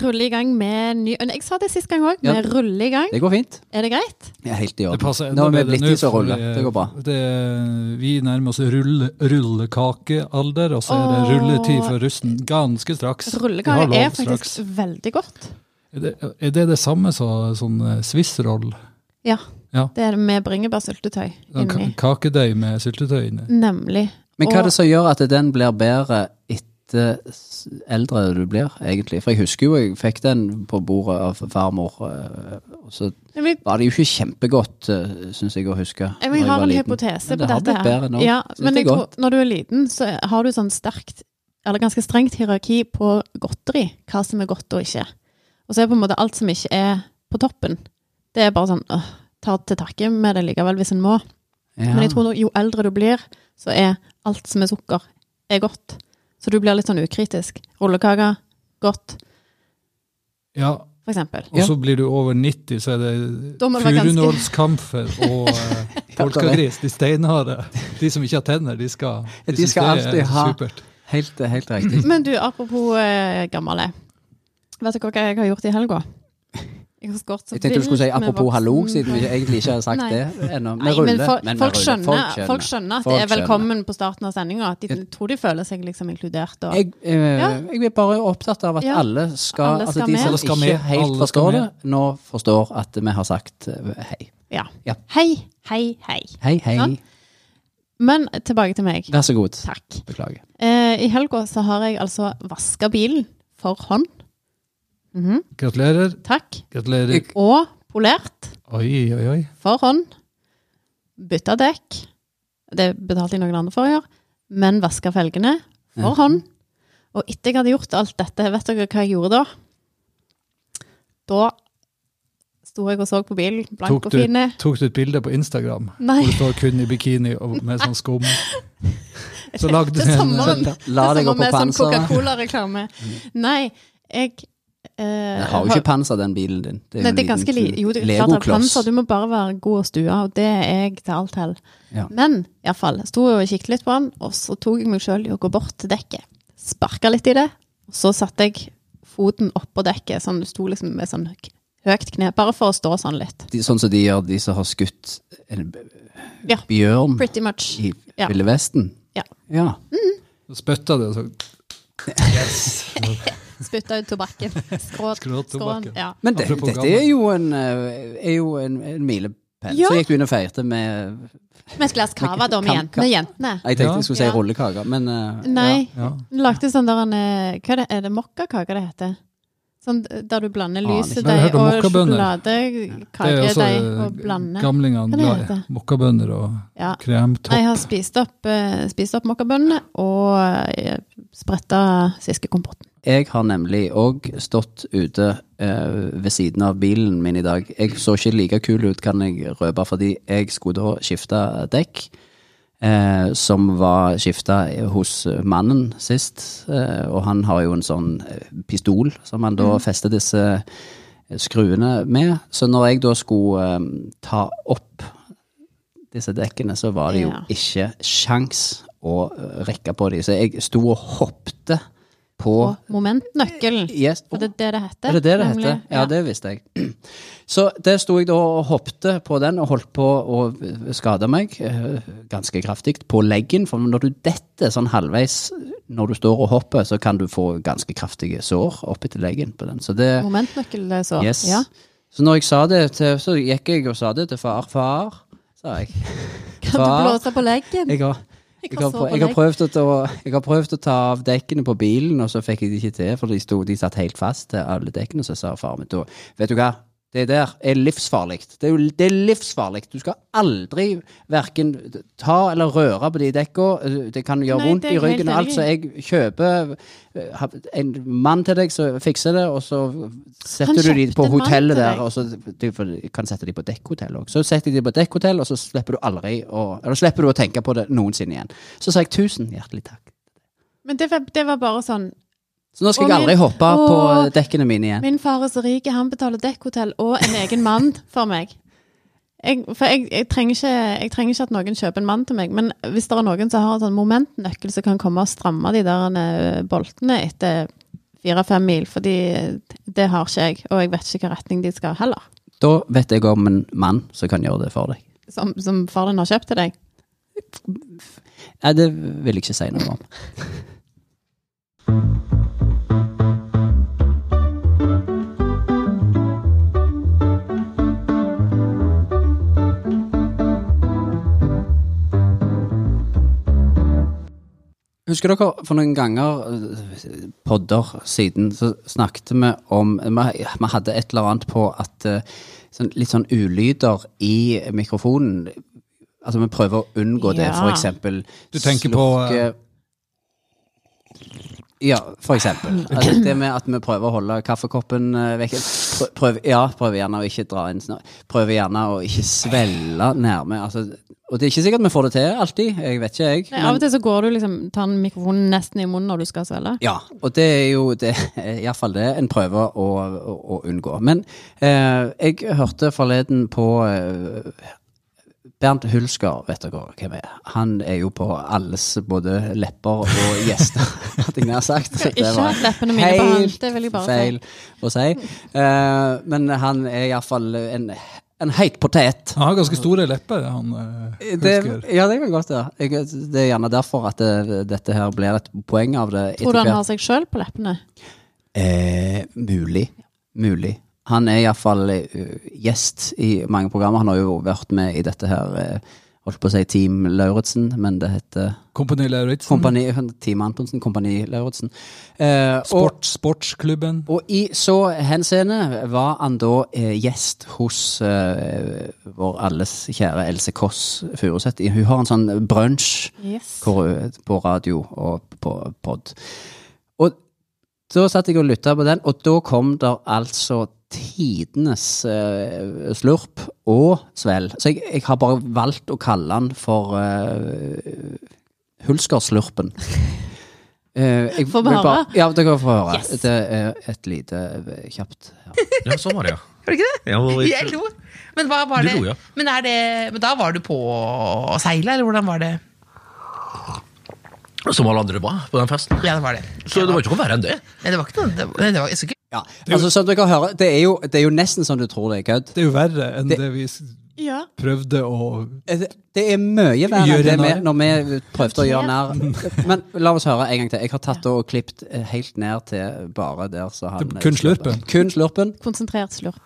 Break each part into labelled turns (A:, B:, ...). A: ruller i gang med ny og Jeg sa det sist gang òg, vi
B: Ja.
A: ruller i gang.
B: Det går fint.
A: Er det greit?
B: Ja, helt i
C: Det
B: orden.
C: passer enda
B: Nå er vi
C: bedre
B: blitt
C: nå,
B: i så
C: for eh,
B: rulle. Det går bra.
C: det- vi nærmer oss rulle, rullekakealder, og så
A: Åh.
C: er det rulletid for russen ganske straks. Vi har
A: Rullekake
C: lov
A: er faktisk
C: straks.
A: veldig godt.
C: Er det, er det det samme som sånn eh, swissroll?
A: Ja.
C: Ja.
A: Det er det med bringebærsyltetøy
C: Sånn ka-
A: inni.
C: Kakedøy med syltetøy inni?
A: Nemlig.
B: Men hva er
A: Og-
B: det som gjør at den blir bedre etter s- eldre du blir, egentlig? For jeg husker jo jeg fikk den på bordet av farmor, eh, og så
A: Jeg vil
B: var det jo ikke kjempegodt, syns jeg å huske.
A: Jeg
B: når
A: vil ha
B: var
A: en
B: liten.
A: hypotese
B: Men
A: på
B: det har
A: dette
B: blitt
A: her.
B: bedre nå.
A: Ja,
B: Synes
A: men
B: det
A: jeg
B: er
A: tror,
B: godt.
A: når du er liten, så har du sånn sterkt, eller ganske strengt hierarki på godteri. Hva som er godt og ikke. Og så er på en måte alt som ikke er på toppen. Det er bare sånn øh, ta til takke med det likevel hvis en må.
B: Ja.
A: Men jeg tror nå, jo eldre du blir, så er alt som er sukker, er godt. Så du blir litt sånn ukritisk. Rullekaker, godt,
C: Ja,
A: for eksempel.
C: og så blir du over 90, så er det
A: Da må det være ganske-
C: furunålskamfer og eh, polkagris. De steinharde. De som ikke har tenner, de skal
B: Ja, de
C: synes
B: skal
C: det er
B: alltid ha-
C: Supert.
B: Helt, helt riktig.
A: Men du, apropos eh, gamle. Vet dere hva jeg har gjort i helga? Jeg har skåret så
B: Jeg tenkte du skulle si
A: vilt med
B: apropos hallo,
A: voksen-
B: siden vi egentlig ikke har sagt
A: Nei.
B: det ennå. Vi
A: Nei, men
B: ruller.
A: fol-
B: men vi
A: folk,
B: ruller.
A: skjønner, folk, skjønner. at
B: Folk
A: det er
B: skjønner.
A: velkommen på starten av sendinga. De
B: Jeg-
A: tror de føler seg liksom inkludert. Og,
B: Jeg, eh, jeg er bare opptatt av at
A: Ja.
B: alle skal,
A: Alle
B: Altså
A: skal
B: de
A: med.
B: som
C: Alle skal
B: ikke
C: med. Alle
B: helt
C: skal
B: forstår det,
C: med.
B: nå forstår at vi har sagt eh, hei.
A: ja.
B: Ja.
A: Hei, hei, hei.
B: Hei, hei.
A: Sånn. Men tilbake til meg.
B: Vær så god.
A: Takk.
B: Beklager.
A: Eh, I helga så har jeg altså vaska bilen for hånd. Mhm,
C: Gratulerer.
A: takk.
C: Gratulerer.
A: Og polert
C: Oi, oi, oi.
A: for hånd. Bytta dekk. Det betalte jeg noen andre for å gjøre. Men vaska felgene for hånd. Og etter jeg hadde gjort alt dette, vet dere hva jeg gjorde da? Da sto jeg og så på bilen, blank
C: Tok
A: og
C: du,
A: fin.
C: tok du et bilde på Instagram
A: Nei.
C: hvor du står kun i bikini og med sånn skum? Så lagde du
A: Det er
C: en
A: samme om-
B: eh, La
A: det er som
B: deg gå
A: om
B: på
A: med sånn
B: panseret.
A: Coca-Cola-reklame. Nei, jeg eh,
B: Den har jo ikke panser, den bilen din. Det er, jo
A: Nei,
B: en
A: det er ganske li
B: liten
A: jo, det er klart det er
B: Legokloss.
A: panser. Du må bare være god å stue, og det er jeg til alt hell.
B: Ja.
A: Men iallfall, sto og kikket litt på den, og så tok jeg meg sjøl i å gå bort til dekket. Sparka litt i det, og så satte jeg foten oppå dekket, sånn du sto liksom med sånn k- høyt kne, bare for å stå sånn litt.
B: De, sånn som de gjør, de som har skutt en b-
A: Ja.
B: bjørn
A: Pretty much.
B: i
A: Ja.
B: Ville Vesten.
A: Ja.
B: Ja.
C: Så spytta du, og så
A: Spytta ut tobakken. Skråt,
C: Skråtobakken.
A: skrån, Ja.
B: Men det,
C: Apropos
B: dette
C: gammel.
B: er jo en, eh, er jo en, en milepæl.
A: Ja.
B: Så gikk du inn og feirte med
A: Med et glass cava, da, med
B: Kan-
A: jentene. jentene.
B: Jeg tenkte
C: Ja.
B: jeg skulle si
A: Ja.
B: rullekaker, men eh,
A: Nei.
C: Ja.
A: Lagde sånn der en eh, Hva er det, er det mokkakake det heter? Sånn der du blander
B: Aner ikke.
C: Men jeg
A: lysedeig
C: har hørt
A: og
C: om mokkabønner. Det er også
A: sjokoladekakedeig og
C: eh,
A: blander.
C: gamlingene
A: Hva det
C: glad i.
A: heter?
C: Mokkabønner og
A: Ja.
C: kremtopp.
A: Jeg har spist opp, uh, spist opp mokkabønnene og eh, spretta siskekompotten.
B: Jeg har nemlig òg stått ute eh, ved siden av bilen min i dag. Jeg så ikke like kul ut, kan jeg røpe, fordi jeg skulle da skifte dekk. Eh, som var skifta hos mannen sist, eh, og han har jo en sånn eh, pistol som han da fester disse eh, skruene med. Så når jeg da skulle eh, ta opp disse dekkene, så var det jo
A: Ja.
B: ikke sjans å eh, rekke på de. Så jeg sto og hoppte på
A: Og momentnøkkelen.
B: Yes.
A: For det er det det heter.
B: Er det det det
A: nemlig.
B: heter? Ja, det visste jeg. Så der sto jeg da og hoppte på den, og holdt på å skade meg eh, ganske kraftig på leggen. For når du detter sånn halvveis når du står og hopper, så kan du få ganske kraftige sår oppi til leggen på den. Så det
A: Momentnøkkel, det er så.
B: Yes.
A: Ja.
B: Så når jeg sa det til Så gikk jeg og sa det til far. Far, sa jeg.
A: Kan du blåse på leggen?
B: Jeg har,
A: Jeg
B: jeg,
A: har
B: har,
A: så
B: prø-
A: på
B: jeg, har
A: deg.
B: prøvd å, ta- jeg har prøvd å ta av dekkene på bilen, og så fikk jeg det ikke til, for de, sto, de satt helt fast til alle dekkene. Så sa faren min da Vet du hva, det der er livsfarlig. Det er, jo- det er livsfarlig. Du skal aldri verken ta eller røre på de dekka. Det kan gjøre
A: Nei,
B: vondt
A: det er
B: i
A: jeg helt
B: ryggen og alt,
A: enig
B: så jeg kjøper eh, ha- en mann til deg som fikser det, og så
A: Han
B: setter du de
A: kjøpte
B: på
A: en mann til
B: hotellet
A: deg?
B: der, og så du får- kan sette de på dekkhotell òg. Så setter jeg de på dekkhotell, og så slipper du aldri å, eller slipper du å tenke på det noensinne igjen. Så sa jeg tusen hjertelig takk.
A: Men det var, det var bare sånn
B: Så nå skal
A: Og
B: jeg aldri
A: min-
B: hoppe
A: Åh.
B: på dekkene mine igjen.
A: Min far er så rik, han betaler dekkhotell og en egen mann for meg. Jeg, for jeg, jeg, trenger ikke, jeg trenger ikke at noen kjøper en mann til meg, men hvis det er noen som har en sånn momentnøkkel som kan komme og stramme de der eh, boltene etter fire-fem mil, fordi det har ikke jeg, og jeg vet ikke hvilken retning de skal heller.
B: Da vet jeg om en mann som kan gjøre det for deg.
A: Som, som far din har kjøpt til deg.
B: Nei, det vil jeg ikke si noe om. Husker dere for noen ganger, eh, podder siden, så snakket vi om Vi vi hadde et eller annet på at eh, sånn, litt sånn ulyder i mikrofonen Altså, vi prøver å unngå det,
A: Ja.
B: for eksempel.
C: Du tenker på, eh,
B: ja, for eksempel. Altså, det med at vi prøver å holde kaffekoppen eh, vekk Prø- prøv, Ja, prøver gjerne å ikke dra inn snø. Prøver gjerne å ikke svelle nærme. Altså, og det er ikke sikkert vi får det til alltid. Jeg vet ikke, jeg.
A: Nei, av og til så går du liksom, tar den mikrofonen nesten i munnen når du skal svelge.
B: Ja, og det er jo det, i hvert fall det en prøver å, å, å unngå. Men eh, jeg hørte forleden på eh, Bernt Hulsker, vet dere hvem er? Han er jo på alles både lepper og gjester, hadde jeg nær sagt.
A: Jeg har ikke hatt leppene mine på han, det vil jeg bare si.
B: feil å si. Eh, men han er iallfall en, en heit potet.
C: Han har ganske store lepper, han eh,
B: Det,
C: husker.
B: ja, det kan godt være. Jeg- Det er gjerne derfor at det, dette her blir et poeng av det.
A: Tror du
B: etter
A: han
B: hvert.
A: har seg sjøl på leppene?
B: Eh, mulig. Mulig. Han er iallfall eh, gjest i mange programmer. Han har jo vært med i dette her eh, Holdt på å si Team Lauritzen, men det heter
C: Kompani Lauritzen.
B: Kompani Team Antonsen, Kompani Lauritzen. Eh, og,
C: Sport, sportsklubben.
B: og i så henseende var han da eh, gjest hos eh, vår alles kjære Else Kåss Furuseth. Hun har en sånn brunsj
A: Yes.
B: hvor, på radio og på pod. Og så satt jeg og lytta på den, og da kom der altså tidenes eh, slurp og svelg. Så jeg, jeg har bare valgt å kalle den for eh, Hulskerslurpen. Eh, jeg
A: Få
B: vil
A: høre.
B: Ja, dere får høre.
A: Yes.
B: Det er et lite eh, kjapt her.
D: Ja, sånn var det, ja.
E: Var det ikke det?
D: Ja, og litt-
E: Jeg lo. Men, hva var
D: Du
E: det?
D: lo, ja.
E: men, er det, men da var du på seilet, eller hvordan var det?
D: Som alle andre var på den festen.
E: Ja, det var det.
D: Så det var ikke noe verre enn det.
E: Nei, det var ikke noe det var, det var, jeg så ikke.
B: Ja. Altså, som dere hører, det er, jo, det er jo nesten som du tror det er kødd.
C: Det er jo verre enn det, vi s-
A: Ja.
C: prøvde å
B: Eh, Det det er mye verre enn
C: Gjøre
B: det vi,
C: narr.
B: når vi prøvde å gjøre nær. Men la oss høre en gang til. Jeg har tatt og klippet eh, helt ned til bare der så han
C: Til kun slurpen.
B: Kun slurpen.
A: Konsentrert slurp.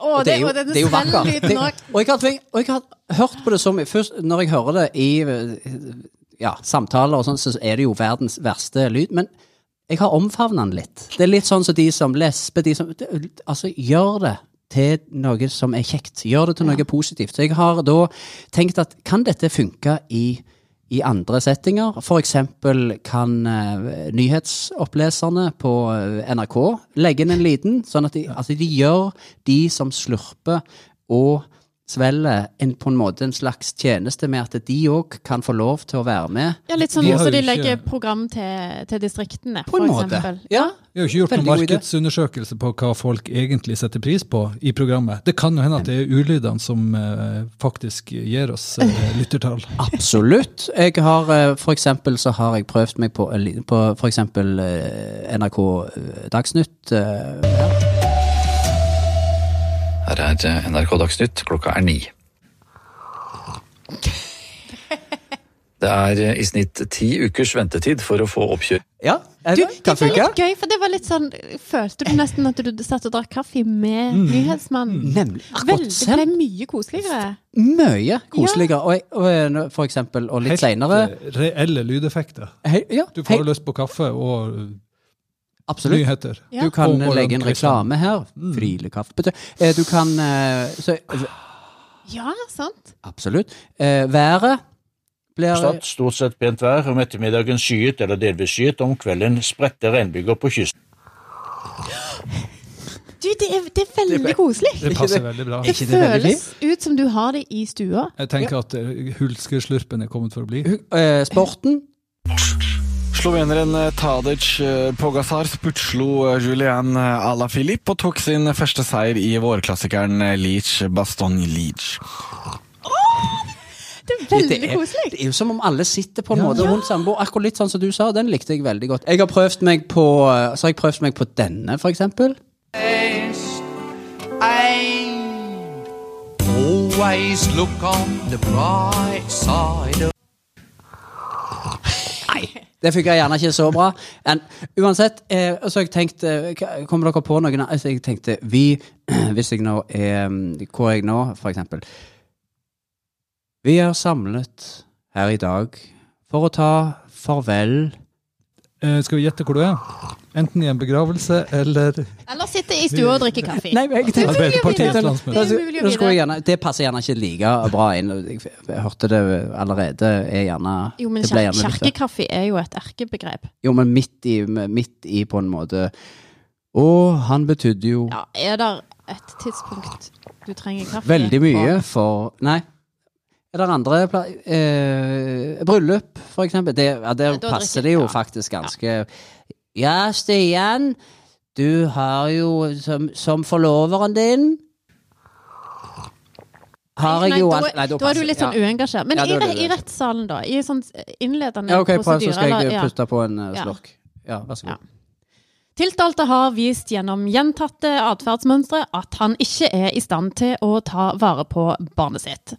A: Å,
B: Og det er jo, det er jo vakkert. Det- Og jeg har, tenkt- og jeg har hørt på det som Først når jeg hører det i eh, ja, samtaler og sånn, så er det jo verdens verste lyd. Men jeg har omfavna den litt. Det er litt sånn som de som lesber de som, det- Altså, gjør det til noe som er kjekt. Gjør det til noe positivt. Så jeg har da tenkt at kan dette funke i i andre settinger, f.eks. kan eh, nyhetsoppleserne på eh, NRK legge inn en liten, sånn at de, altså de gjør de som slurper og svelger, en, på en måte en slags tjeneste med at de òg kan få lov til å være med.
A: Ja, litt sånn
C: Vi
A: som
C: har jo
A: de
C: ikke-
A: legger program til, til distriktene,
B: På
A: for
B: en måte.
A: eksempel.
B: Ja.
C: Vi har jo ikke gjort
B: Veldig
C: noen
B: god idé.
C: markedsundersøkelse på hva folk egentlig setter pris på i programmet. Det kan jo hende at det er ulydene som eh, faktisk gir oss eh, lyttertall.
B: Absolutt. Jeg har, eh, for eksempel så har jeg prøvd meg på, en liten- på for eksempel eh, NRK eh, Dagsnytt. eh,
F: Her er NRK Dagsnytt, klokka er ni. Det er i snitt ti ukers ventetid for å få oppkjøring.
B: Ja, eh,
A: Du, det
B: kan
A: var
B: funke.
A: litt gøy, for det var litt sånn Følte du nesten at du satt og drakk kaffe med nyhetsmannen?
B: Nemlig.
A: Vel,
B: Mm. Akkurat
A: det ble mye koseligere.
B: Mye koseligere. Og, og, eh, nå, for eksempel, og litt seinere
C: eh, reelle lydeffekter.
B: Ja,
C: Du
B: hei,
C: får jo lyst på kaffe og
B: absolutt.
C: nyheter.
A: Ja.
B: Du kan
C: Og- og
B: legge inn
C: den krysser.
B: reklame her. Frilekaffe betyr eh, Du kan eh, så, eh,
A: Ja, sant?
B: Absolutt. Eh, Været blir
G: Stad stort sett pent vær, om ettermiddagen skyet eller delvis skyet, om kvelden spredte regnbyger på kysten.
A: Du, det er, det er veldig koselig.
C: Det passer veldig bra.
A: Det
B: ikke det veldig
A: føles ut som du har det i stua.
C: Jeg tenker at eh, hulskerslurpen er kommet for å bli.
B: eh, sporten.
H: Sloveneren Tadic eh, Pogasar putslo eh, Julian Alaphilipp og tok sin første eh, seier i vårklassikeren Leach Baston Leach.
A: Det Veldig
B: Det er-
A: koselig.
B: Det er jo som om alle sitter på en måte rundt samboer. Akkurat litt sånn som du sa, den likte jeg veldig godt. Jeg har prøvd meg på, eh, så har jeg prøvd meg på denne, for eksempel. Nei, det funker gjerne ikke så bra. Men uansett, eh, så har jeg tenkt eh, hva- Kommer dere på noen altså, Jeg tenkte vi Hvis jeg nå er mm, Hvor er jeg nå, for eksempel? Vi er samlet her i dag for å ta farvel
C: Eh, skal vi gjette hvor du er? Enten i en begravelse eller
A: Eller sitter i stua og drikker kaffe.
B: Nei, men jeg tenkte
C: Arbeiderpartiets
A: Det er
C: landsmøte.
A: umulig å vite.
B: Nå skulle jeg gjerne, det passer gjerne ikke like bra inn. Jeg, f- jeg hørte det allerede. Er gjerne,
A: Jo, men
B: det ble
A: kjer
B: gjerne litt-
A: kjerkekaffe er jo et erkebegrep.
B: Jo, men midt i, midt i på en måte Og han betydde jo
A: Ja, er det et tidspunkt du trenger kaffe?
B: veldig mye for Nei. Er det andre pla- eh, Bryllup, for eksempel. Det, ja, der
A: Ja, da drikker-
B: passer det jo
A: ja.
B: faktisk ganske Ja, Stian. Du har jo Som, som forloveren din har jeg
A: Nei,
B: jo
A: da,
B: alt- Nei,
A: da er du
B: passer-
A: litt sånn
B: ja.
A: uengasjert. Men
B: Ja,
A: i,
B: da er
A: re-
B: det
A: i
B: det.
A: rettssalen, da? I sånn eh, innledende
B: Ja, ok, prøv, så skal jeg
A: eller-
B: eh,
A: ja.
B: puste på en eh,
A: Ja.
B: slurk. Ja, vær så
A: Ja.
B: god.
A: Tiltalte har vist gjennom gjentatte atferdsmønstre at han ikke er i stand til å ta vare på barnet sitt.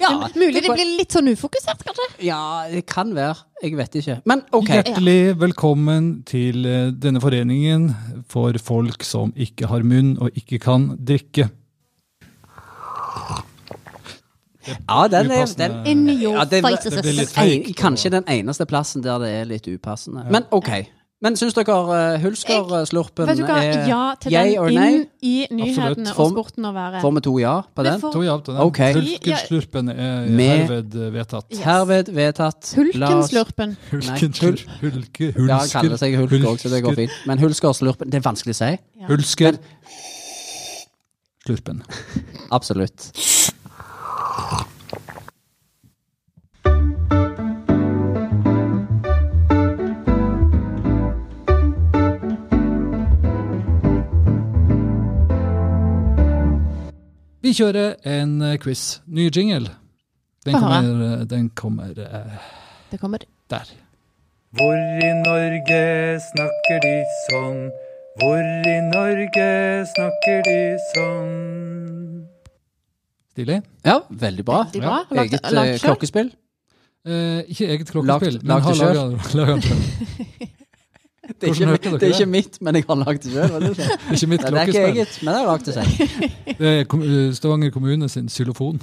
A: Ja, Mulig det blir litt sånn ufokusert, kanskje?
B: Ja, det kan være. Jeg vet ikke. Men ok.
C: Hjertelig velkommen til eh, denne foreningen for folk som ikke har munn og ikke kan drikke.
B: Ja, den er,
C: Upassende.
B: den,
A: In your
B: Eh, ja, den,
A: faces.
C: det blir litt
B: den
C: feigt,
B: en-
C: og-
B: kanskje den eneste plassen der det er litt upassende. Men ok. Men syns dere eh, Hulsker-slurpen
A: Vet du hva,
B: er
A: ja til
B: yay or
A: den
B: nay?
A: inn i nyhetene
B: Får-
A: og sporten å være.
B: Får vi to ja på
A: Vi
B: den?
A: får-
C: To ja til den.
B: Ok.
A: Ja.
C: Hulkenslurpen er
B: Med-
C: herved eh, vedtatt.
A: Yes.
B: Herved vedtatt. La oss-
A: Hulkenslurpen.
C: Hulkenslurp. Hulke, hulsker.
B: Ja, han kaller seg Hulsker òg, så det går fint. Men Hulsker-slurpen, det er vanskelig å si.
A: Ja.
C: Hulsker. Slurpen.
B: Absolutt.
C: Vi kjører en eh, quiz. Ny jingle. Den
A: Få høre.
C: kommer, eh, den kommer eh,
A: Det kommer
C: der.
I: Hvor i Norge snakker de sånn? Hvor i Norge snakker de sånn?
C: Stilig.
B: Ja, veldig bra.
A: veldig bra. Lagt,
B: Eget eh,
A: lagt selv.
B: klokkespill.
C: Eh, ikke eget
B: Lagt-
C: klokkespill, men
B: lagt
C: har
B: det
C: laga det sjøl.
B: Det er,
C: Hvordan hørte
B: ikke,
C: dere
B: det er
C: det?
B: ikke mitt, men jeg har lagd det sjøl. Det
C: Ikke mitt
B: er ikke
C: klokkespill.
B: eget, men jeg har lagd det selv.
C: Det er kom- eh, Stavanger kommune sin xylofon.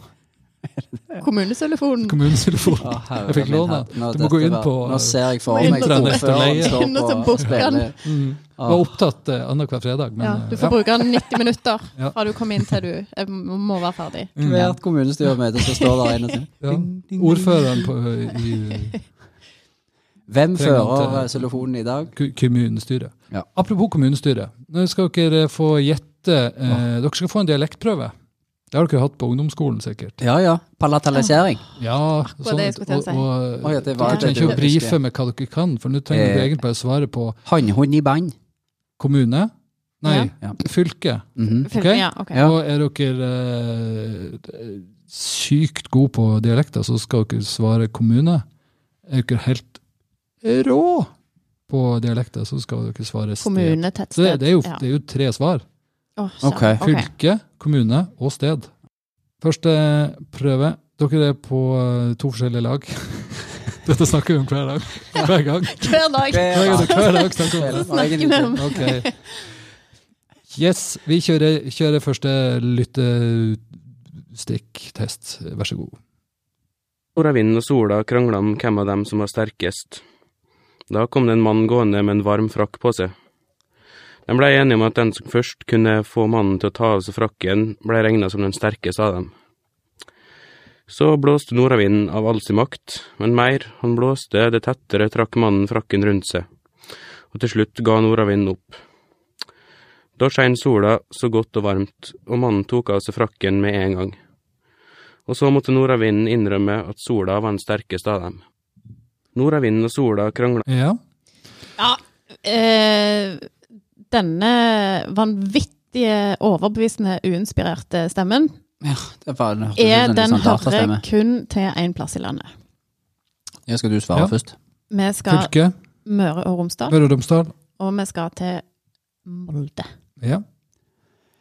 A: Kommunetelefonen.
C: Kommunens xylofon.
B: Å, herre
C: Jeg fikk
B: min
C: låne.
B: hatt. Nå,
C: Du må
B: dette
C: gå inn
B: var-
C: på-
B: Nå ser jeg for
A: Må inn
B: meg
A: på
C: internett og
B: ordføreren
C: leie.
B: står
A: Inn og så
B: på
A: bukker han.
B: spille.
C: Mm.
B: Åh.
C: Var opptatt eh, annenhver fredag, men
A: Ja,
C: eh,
A: du får bruke den 90 minutter
C: Ja.
A: fra du kommer inn til du eh, må være ferdig.
B: Hvert kommunestyremøte så står der en og sier
C: Mm. ja. Ordføreren på, eh, i
B: Hvem
C: Trenger han
B: fører
C: til-
B: eh, cellofonen i dag?
C: ku- kommunestyret.
B: Ja.
C: Apropos kommunestyret. Nå skal dere få gjette eh, Dere skal få en dialektprøve. Det har dere hatt på ungdomsskolen, sikkert.
B: Ja ja, palatalisering.
C: Ja,
A: det jeg skulle til å si.
C: og,
B: Oi,
C: og,
B: at det var
C: dere trenger ikke å
B: det du
C: brife
B: husker.
C: med hva dere kan, for nå trenger dere
B: Eh.
C: egentlig bare svare på
B: Håndhund i band.
C: kommune. Nei,
B: Ja.
C: fylke.
B: Mhm.
A: Fylke,
C: Ok.
A: Ja, ok.
B: Ja.
C: Og er dere eh, sykt gode på dialekter, så skal dere svare kommune. Er dere helt rå på dialekter, så skal dere svare sted.
A: Kommune,
C: Så
A: tettsted.
C: det, det, er jo,
A: ja.
C: det er jo tre svar.
A: Å, skjønner.
B: Ok,
A: Ok.
C: Fylke, kommune og sted. Første prøve. Dere er på eh, to forskjellige lag. Dette snakker vi om hver dag. Hver gang.
A: Hver dag
C: Hver gang, hver dag snakker vi om det.
A: snakker vi om
C: Ok. Yes, vi kjører, kjører første lyttestikktest. Vær så god.
J: Nordavinden og sola krangla om hvem av dem som var sterkest. Da kom det en mann gående med en varm frakk på seg. De blei enige om at den som først kunne få mannen til å ta av seg frakken, blei regna som den sterkeste av dem. Så blåste nordavinden av all sin makt, men mer han blåste, det tettere trakk mannen frakken rundt seg, og til slutt ga nordavinden opp. Da skein sola så godt og varmt, og mannen tok av seg frakken med en gang og så måtte nordavinden innrømme at sola var den sterkeste av dem. Nordavinden og sola krangla
C: Ja.
A: Ja, eh, denne vanvittige, overbevisende, uinspirerte stemmen
B: Ja, det var, det hørtes ut
A: Er
B: som en litt
A: den
B: sånn
A: hører
B: datastemme.
A: kun til én plass i landet.
B: Ja, skal du svare
C: Ja.
B: først?
A: Vi skal
C: Fylke,
A: Møre og Romsdal,
C: Møre og Romsdal.
A: og vi skal til Molde.
C: Ja.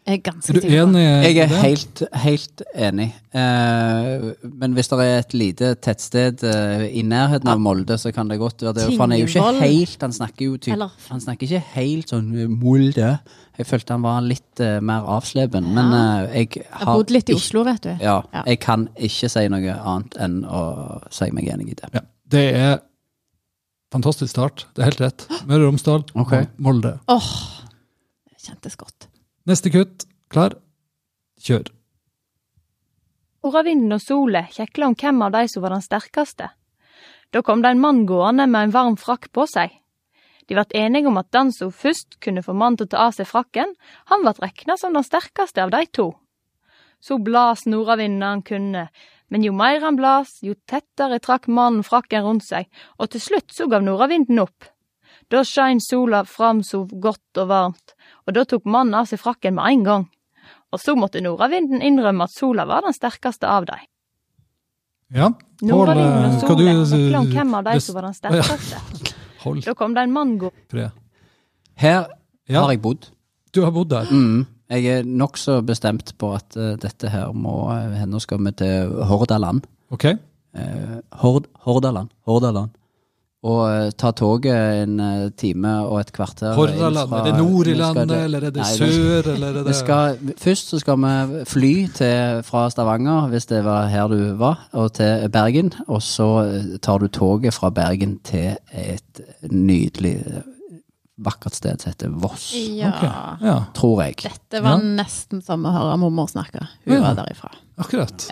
A: Jeg er ganske
C: Er du
A: sikker. på.
C: enig i
B: Jeg er
C: det?
B: helt, helt enig. Eh, men hvis det er et lite tettsted eh, i nærheten av Molde, så kan det godt være det. For han er jo ikke
A: Ah. Tingvoll.
B: helt Han snakker jo typ,
A: Eller-
B: Han snakker ikke helt sånn eh, Molde. Jeg følte han var litt eh, mer avslepen. Men eh, jeg
A: Ah. Jeg har
B: har
A: bodd litt i
B: ikke-
A: Oslo, vet du.
B: Ja,
A: Ja.
B: jeg kan ikke si noe annet enn å si meg enig i det.
C: Ja. Det er fantastisk start. Det er helt rett. Møre og Romsdal,
B: Ok.
C: Molde.
A: Åh, det kjentes godt.
C: Neste kutt. Klar, kjør.
K: Oravinden og Solet kjekla om hvem av de som var den sterkeste. Da kom det en mann gående med en varm frakk på seg. De vart enige om at den som først kunne få mannen til å ta av seg frakken, han vart rekna som den sterkeste av de to. Så blas nordavinden han kunne, men jo mer han blas, jo tettere trakk mannen frakken rundt seg, og til slutt så gav nordavinden opp. Da skein sola fram så godt og varmt, og da tok mannen av seg frakken med en gang og så måtte nordavinden innrømme at sola var den sterkeste av dem.
C: Ja. Pål,
K: Nordavinden
C: eh,
K: og
C: hva
K: sola sjekla om
C: du
K: hvem av de
C: det-
K: som var
C: Å,
K: den
C: ja.
K: sterkeste.
C: Hold
K: Da kom det en mann gå...
C: fred.
B: Her
C: Ja.
B: har jeg bodd.
C: Du har bodd der.
B: Mm. Jeg er nokså bestemt på at eh, dette her må eh, Nå skal vi til Hordaland.
C: Ok.
B: eh, Hord, Hordaland, Hordaland. Og eh, ta toget en eh, time og et kvarter.
C: Hordaland. Er det nord i landet, eller er det sør, eller er
B: Vi
C: det
B: skal, først så skal vi fly til, fra Stavanger, hvis det var her du var, og til Bergen. Og så eh, tar du toget fra Bergen til et nydelig, eh, vakkert sted som heter Voss.
A: Ja.
C: Ja,
B: Tror jeg.
A: Dette var
C: Ja.
A: nesten som å høre mormor snakke. Hun
C: Ja.
A: var derifra.
C: akkurat.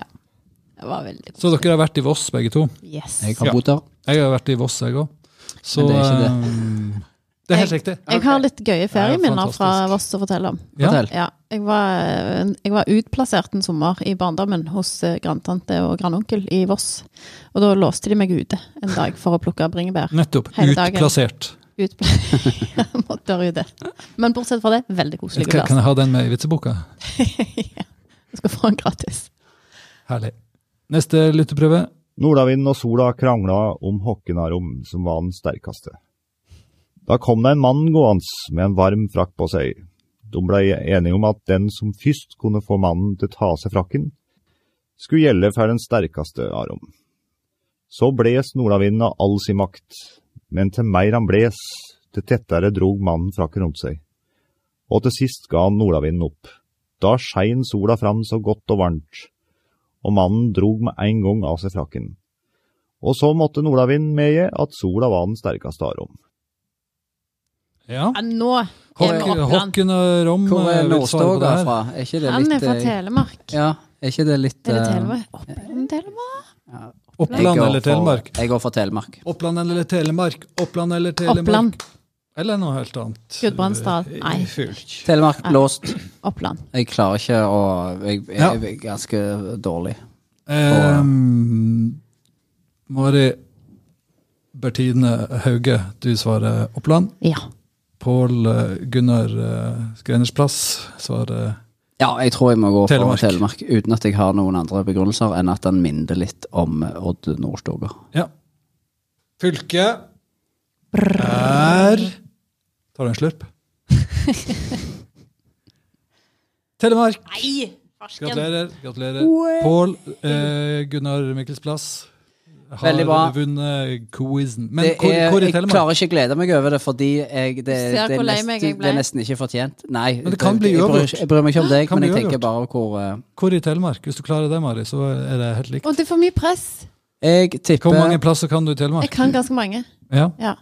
A: Det var veldig
C: Så dere har vært i Voss, begge to?
A: Yes.
B: Jeg
C: Ja.
B: har bodd der.
C: Jeg har vært i Voss, jeg òg. Så
B: Men det er ikke det.
C: eh, det er helt riktig.
A: Jeg har litt gøye ferieminner fra
C: fantastisk.
A: Voss å fortelle om.
C: Ja.
B: Fortell.
A: Ja, jeg var, jeg var utplassert en sommer i barndommen hos eh, grandtante og grandonkel i Voss. Og da låste de meg ute en dag for å plukke bringebær.
C: Nettopp.
A: Hele dagen.
C: Utplassert.
A: Utpla- Måtte være ute. Men bortsett fra det, veldig koselig
C: Kan kan
A: plass.
C: jeg ha den med i vitseboka?
A: ja, jeg skal få den gratis.
C: Herlig. Neste lytteprøve.
L: Nordavinden og sola krangla om Håkkenarom, som var den sterkeste. Da kom det en mann gående med en varm frakk på seg. De ble enige om at den som først kunne få mannen til å ta av seg frakken, skulle gjelde for den sterkeste av dem. Så bles nordavinden av all sin makt, men til mer han bles, til tettere drog mannen frakken rundt seg. Og til sist ga han nordavinden opp. Da skein sola fram så godt og varmt, og mannen drog med en gang av seg frakken. Og så måtte nordavinden medgi at sola var den sterkeste av dem.
C: Ja.
A: Ja, nå er vi
C: Hokken
A: Oppland.
C: Hokken og Rom
B: Hvor er
C: eh, vil svare på det
B: Nordstoga
C: her.
B: fra? Er ikke det
A: Han
B: litt
A: er fra
B: eh,
A: Telemark.
B: Ja, er ikke det litt
A: Er det
B: eh,
A: Telemark? Oppland, Telemark?
B: jeg
C: Oppland
B: går
C: eller
B: for-
C: Telemark?
B: Jeg går for Telemark.
C: Oppland eller Telemark? Oppland eller Telemark?
A: Oppland.
C: Eller noe helt annet.
A: Gudbrandsdal.
C: Eh,
A: Nei.
C: Fylk.
B: Telemark låst.
A: Oppland.
B: Jeg klarer ikke å Jeg, jeg,
C: Ja.
B: er ganske dårlig.
C: Ehm, Mari Bertine Hauge, du svarer Oppland.
A: Ja.
C: Pål eh, Gunnar eh, Skrenersplass svarer
B: Ja, jeg tror jeg må gå
C: Telemark.
B: for Telemark, uten at jeg har noen andre begrunnelser enn at han minner litt om Odd Nordstoga.
C: Ja. Fylket er Tar du en slurp? Telemark.
A: Nei! farsken.
C: Gratulerer. gratulerer. Pål eh, Gunnar Mikkelsplass har
B: Veldig bra.
C: vunnet quizen. Men
B: Det
C: hvor,
B: er-
C: hvor er
B: jeg
C: Telemark?
B: klarer ikke å glede meg over det, fordi jeg, det, det,
A: Du ser
B: er
A: hvor lei
B: nesten,
A: meg jeg
B: det er
A: ble.
B: nesten ikke fortjent. Nei,
C: Men det kan bli
B: jeg, bryr,
C: uavgjort.
B: jeg bryr meg ikke om deg,
C: Kan
B: men jeg
C: bli
B: tenker
C: uavgjort.
B: bare hvor eh,
C: Hvor i Telemark? Hvis du klarer det, Mari, så er det helt likt.
A: Og det er for mye press.
B: eh, Jeg tipper
C: Hvor mange plasser kan du i Telemark?
A: Jeg kan ganske mange.
C: Ja.
A: Ja.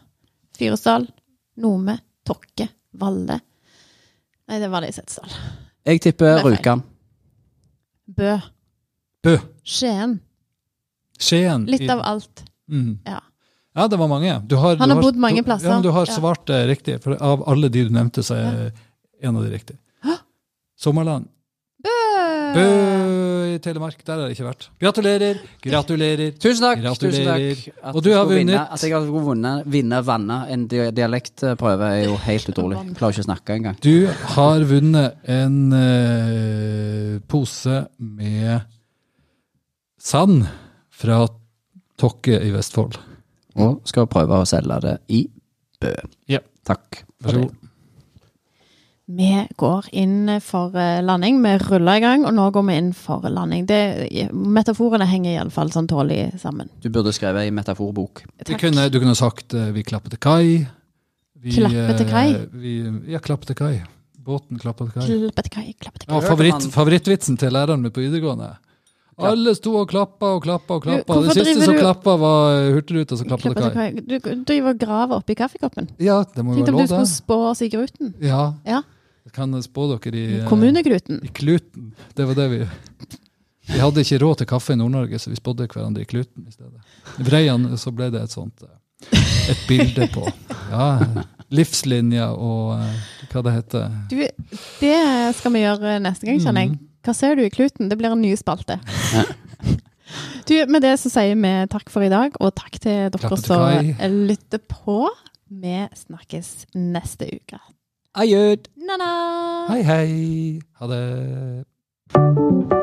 A: Fyresdal, Nome, Tokke, Valle. Nei, det var det i Setesdal.
B: Jeg
A: Det
B: tipper
A: er feil.
B: Rjukan.
A: Bø.
C: Bø.
A: Skien.
C: Skien.
A: Litt
C: i-
A: av alt.
C: Mm.
A: Ja.
C: Ja, det var mange. Du har,
A: Han
C: du
A: har bodd mange
C: du-
A: plasser.
C: Ja, men du har
A: Ja.
C: svart eh, riktig. For av alle de du nevnte, så er en av de riktige. Sommerland.
A: Bø!
C: Bø i Telemark. Der har jeg ikke vært. Gratulerer, gratulerer.
B: Tusen takk. Tusen
C: gratulerer.
B: takk. At
C: Og du
B: jeg
C: har
B: skulle Vinne,
C: vunnet.
B: at jeg har vunnet, vinne, vanne en dia- dialektprøve, er jo helt utrolig. Klarer ikke å snakke engang.
C: Du har vunnet en eh, pose med sand fra Tokke i Vestfold.
B: Og skal prøve å selge det i Bø.
C: Ja.
B: Takk.
C: Vær så god.
A: Vi går inn for eh, landing. Vi ruller i gang, og nå går vi inn for landing. Det, metaforene henger iallfall sånn tålelig sammen.
B: Du burde skrevet ei metaforbok.
C: Du kunne, du kunne sagt eh, 'vi klapper til kai'. Vi,
A: Klapper til kai?
C: eh, Vi, ja, klapper til kai. Båten klapper til kai.
A: Klappet kai, klappet
C: Ja,
A: kai.
C: favoritt, favorittvitsen til læreren min på videregående. Alle sto og klappa og klappa og klappa.
A: hvorfor
C: Det siste
A: driver
C: som
A: du-
C: klappa, var eh, Hurtigruta som klappa til
A: Klappet
C: kai.
A: kai. Du du driver og graver oppi kaffekoppen.
C: Ja, det må jo
A: Tenkte om
C: være lov,
A: du skulle
C: det.
A: spå oss i gruten.
C: Ja.
A: Ja.
C: Jeg kan spå dere i eh,
A: Kommunegruten.
C: I kluten. Det var det vi Vi hadde ikke råd til kaffe i Nord-Norge, så vi spådde hverandre i kluten i stedet. I Breian så ble det et sånt eh, et bilde på ja, livslinja og eh, hva det heter.
A: Du, det skal vi gjøre neste gang, kjenner jeg. Hva ser du i kluten? Det blir en ny spalte. Du, med det så sier vi takk for i dag, og takk til dere
C: Klappe til
A: som
C: kai.
A: lytter på. Vi snakkes neste uke.
B: Adjød.
A: Na-na!
C: Hei, hei. Ha det.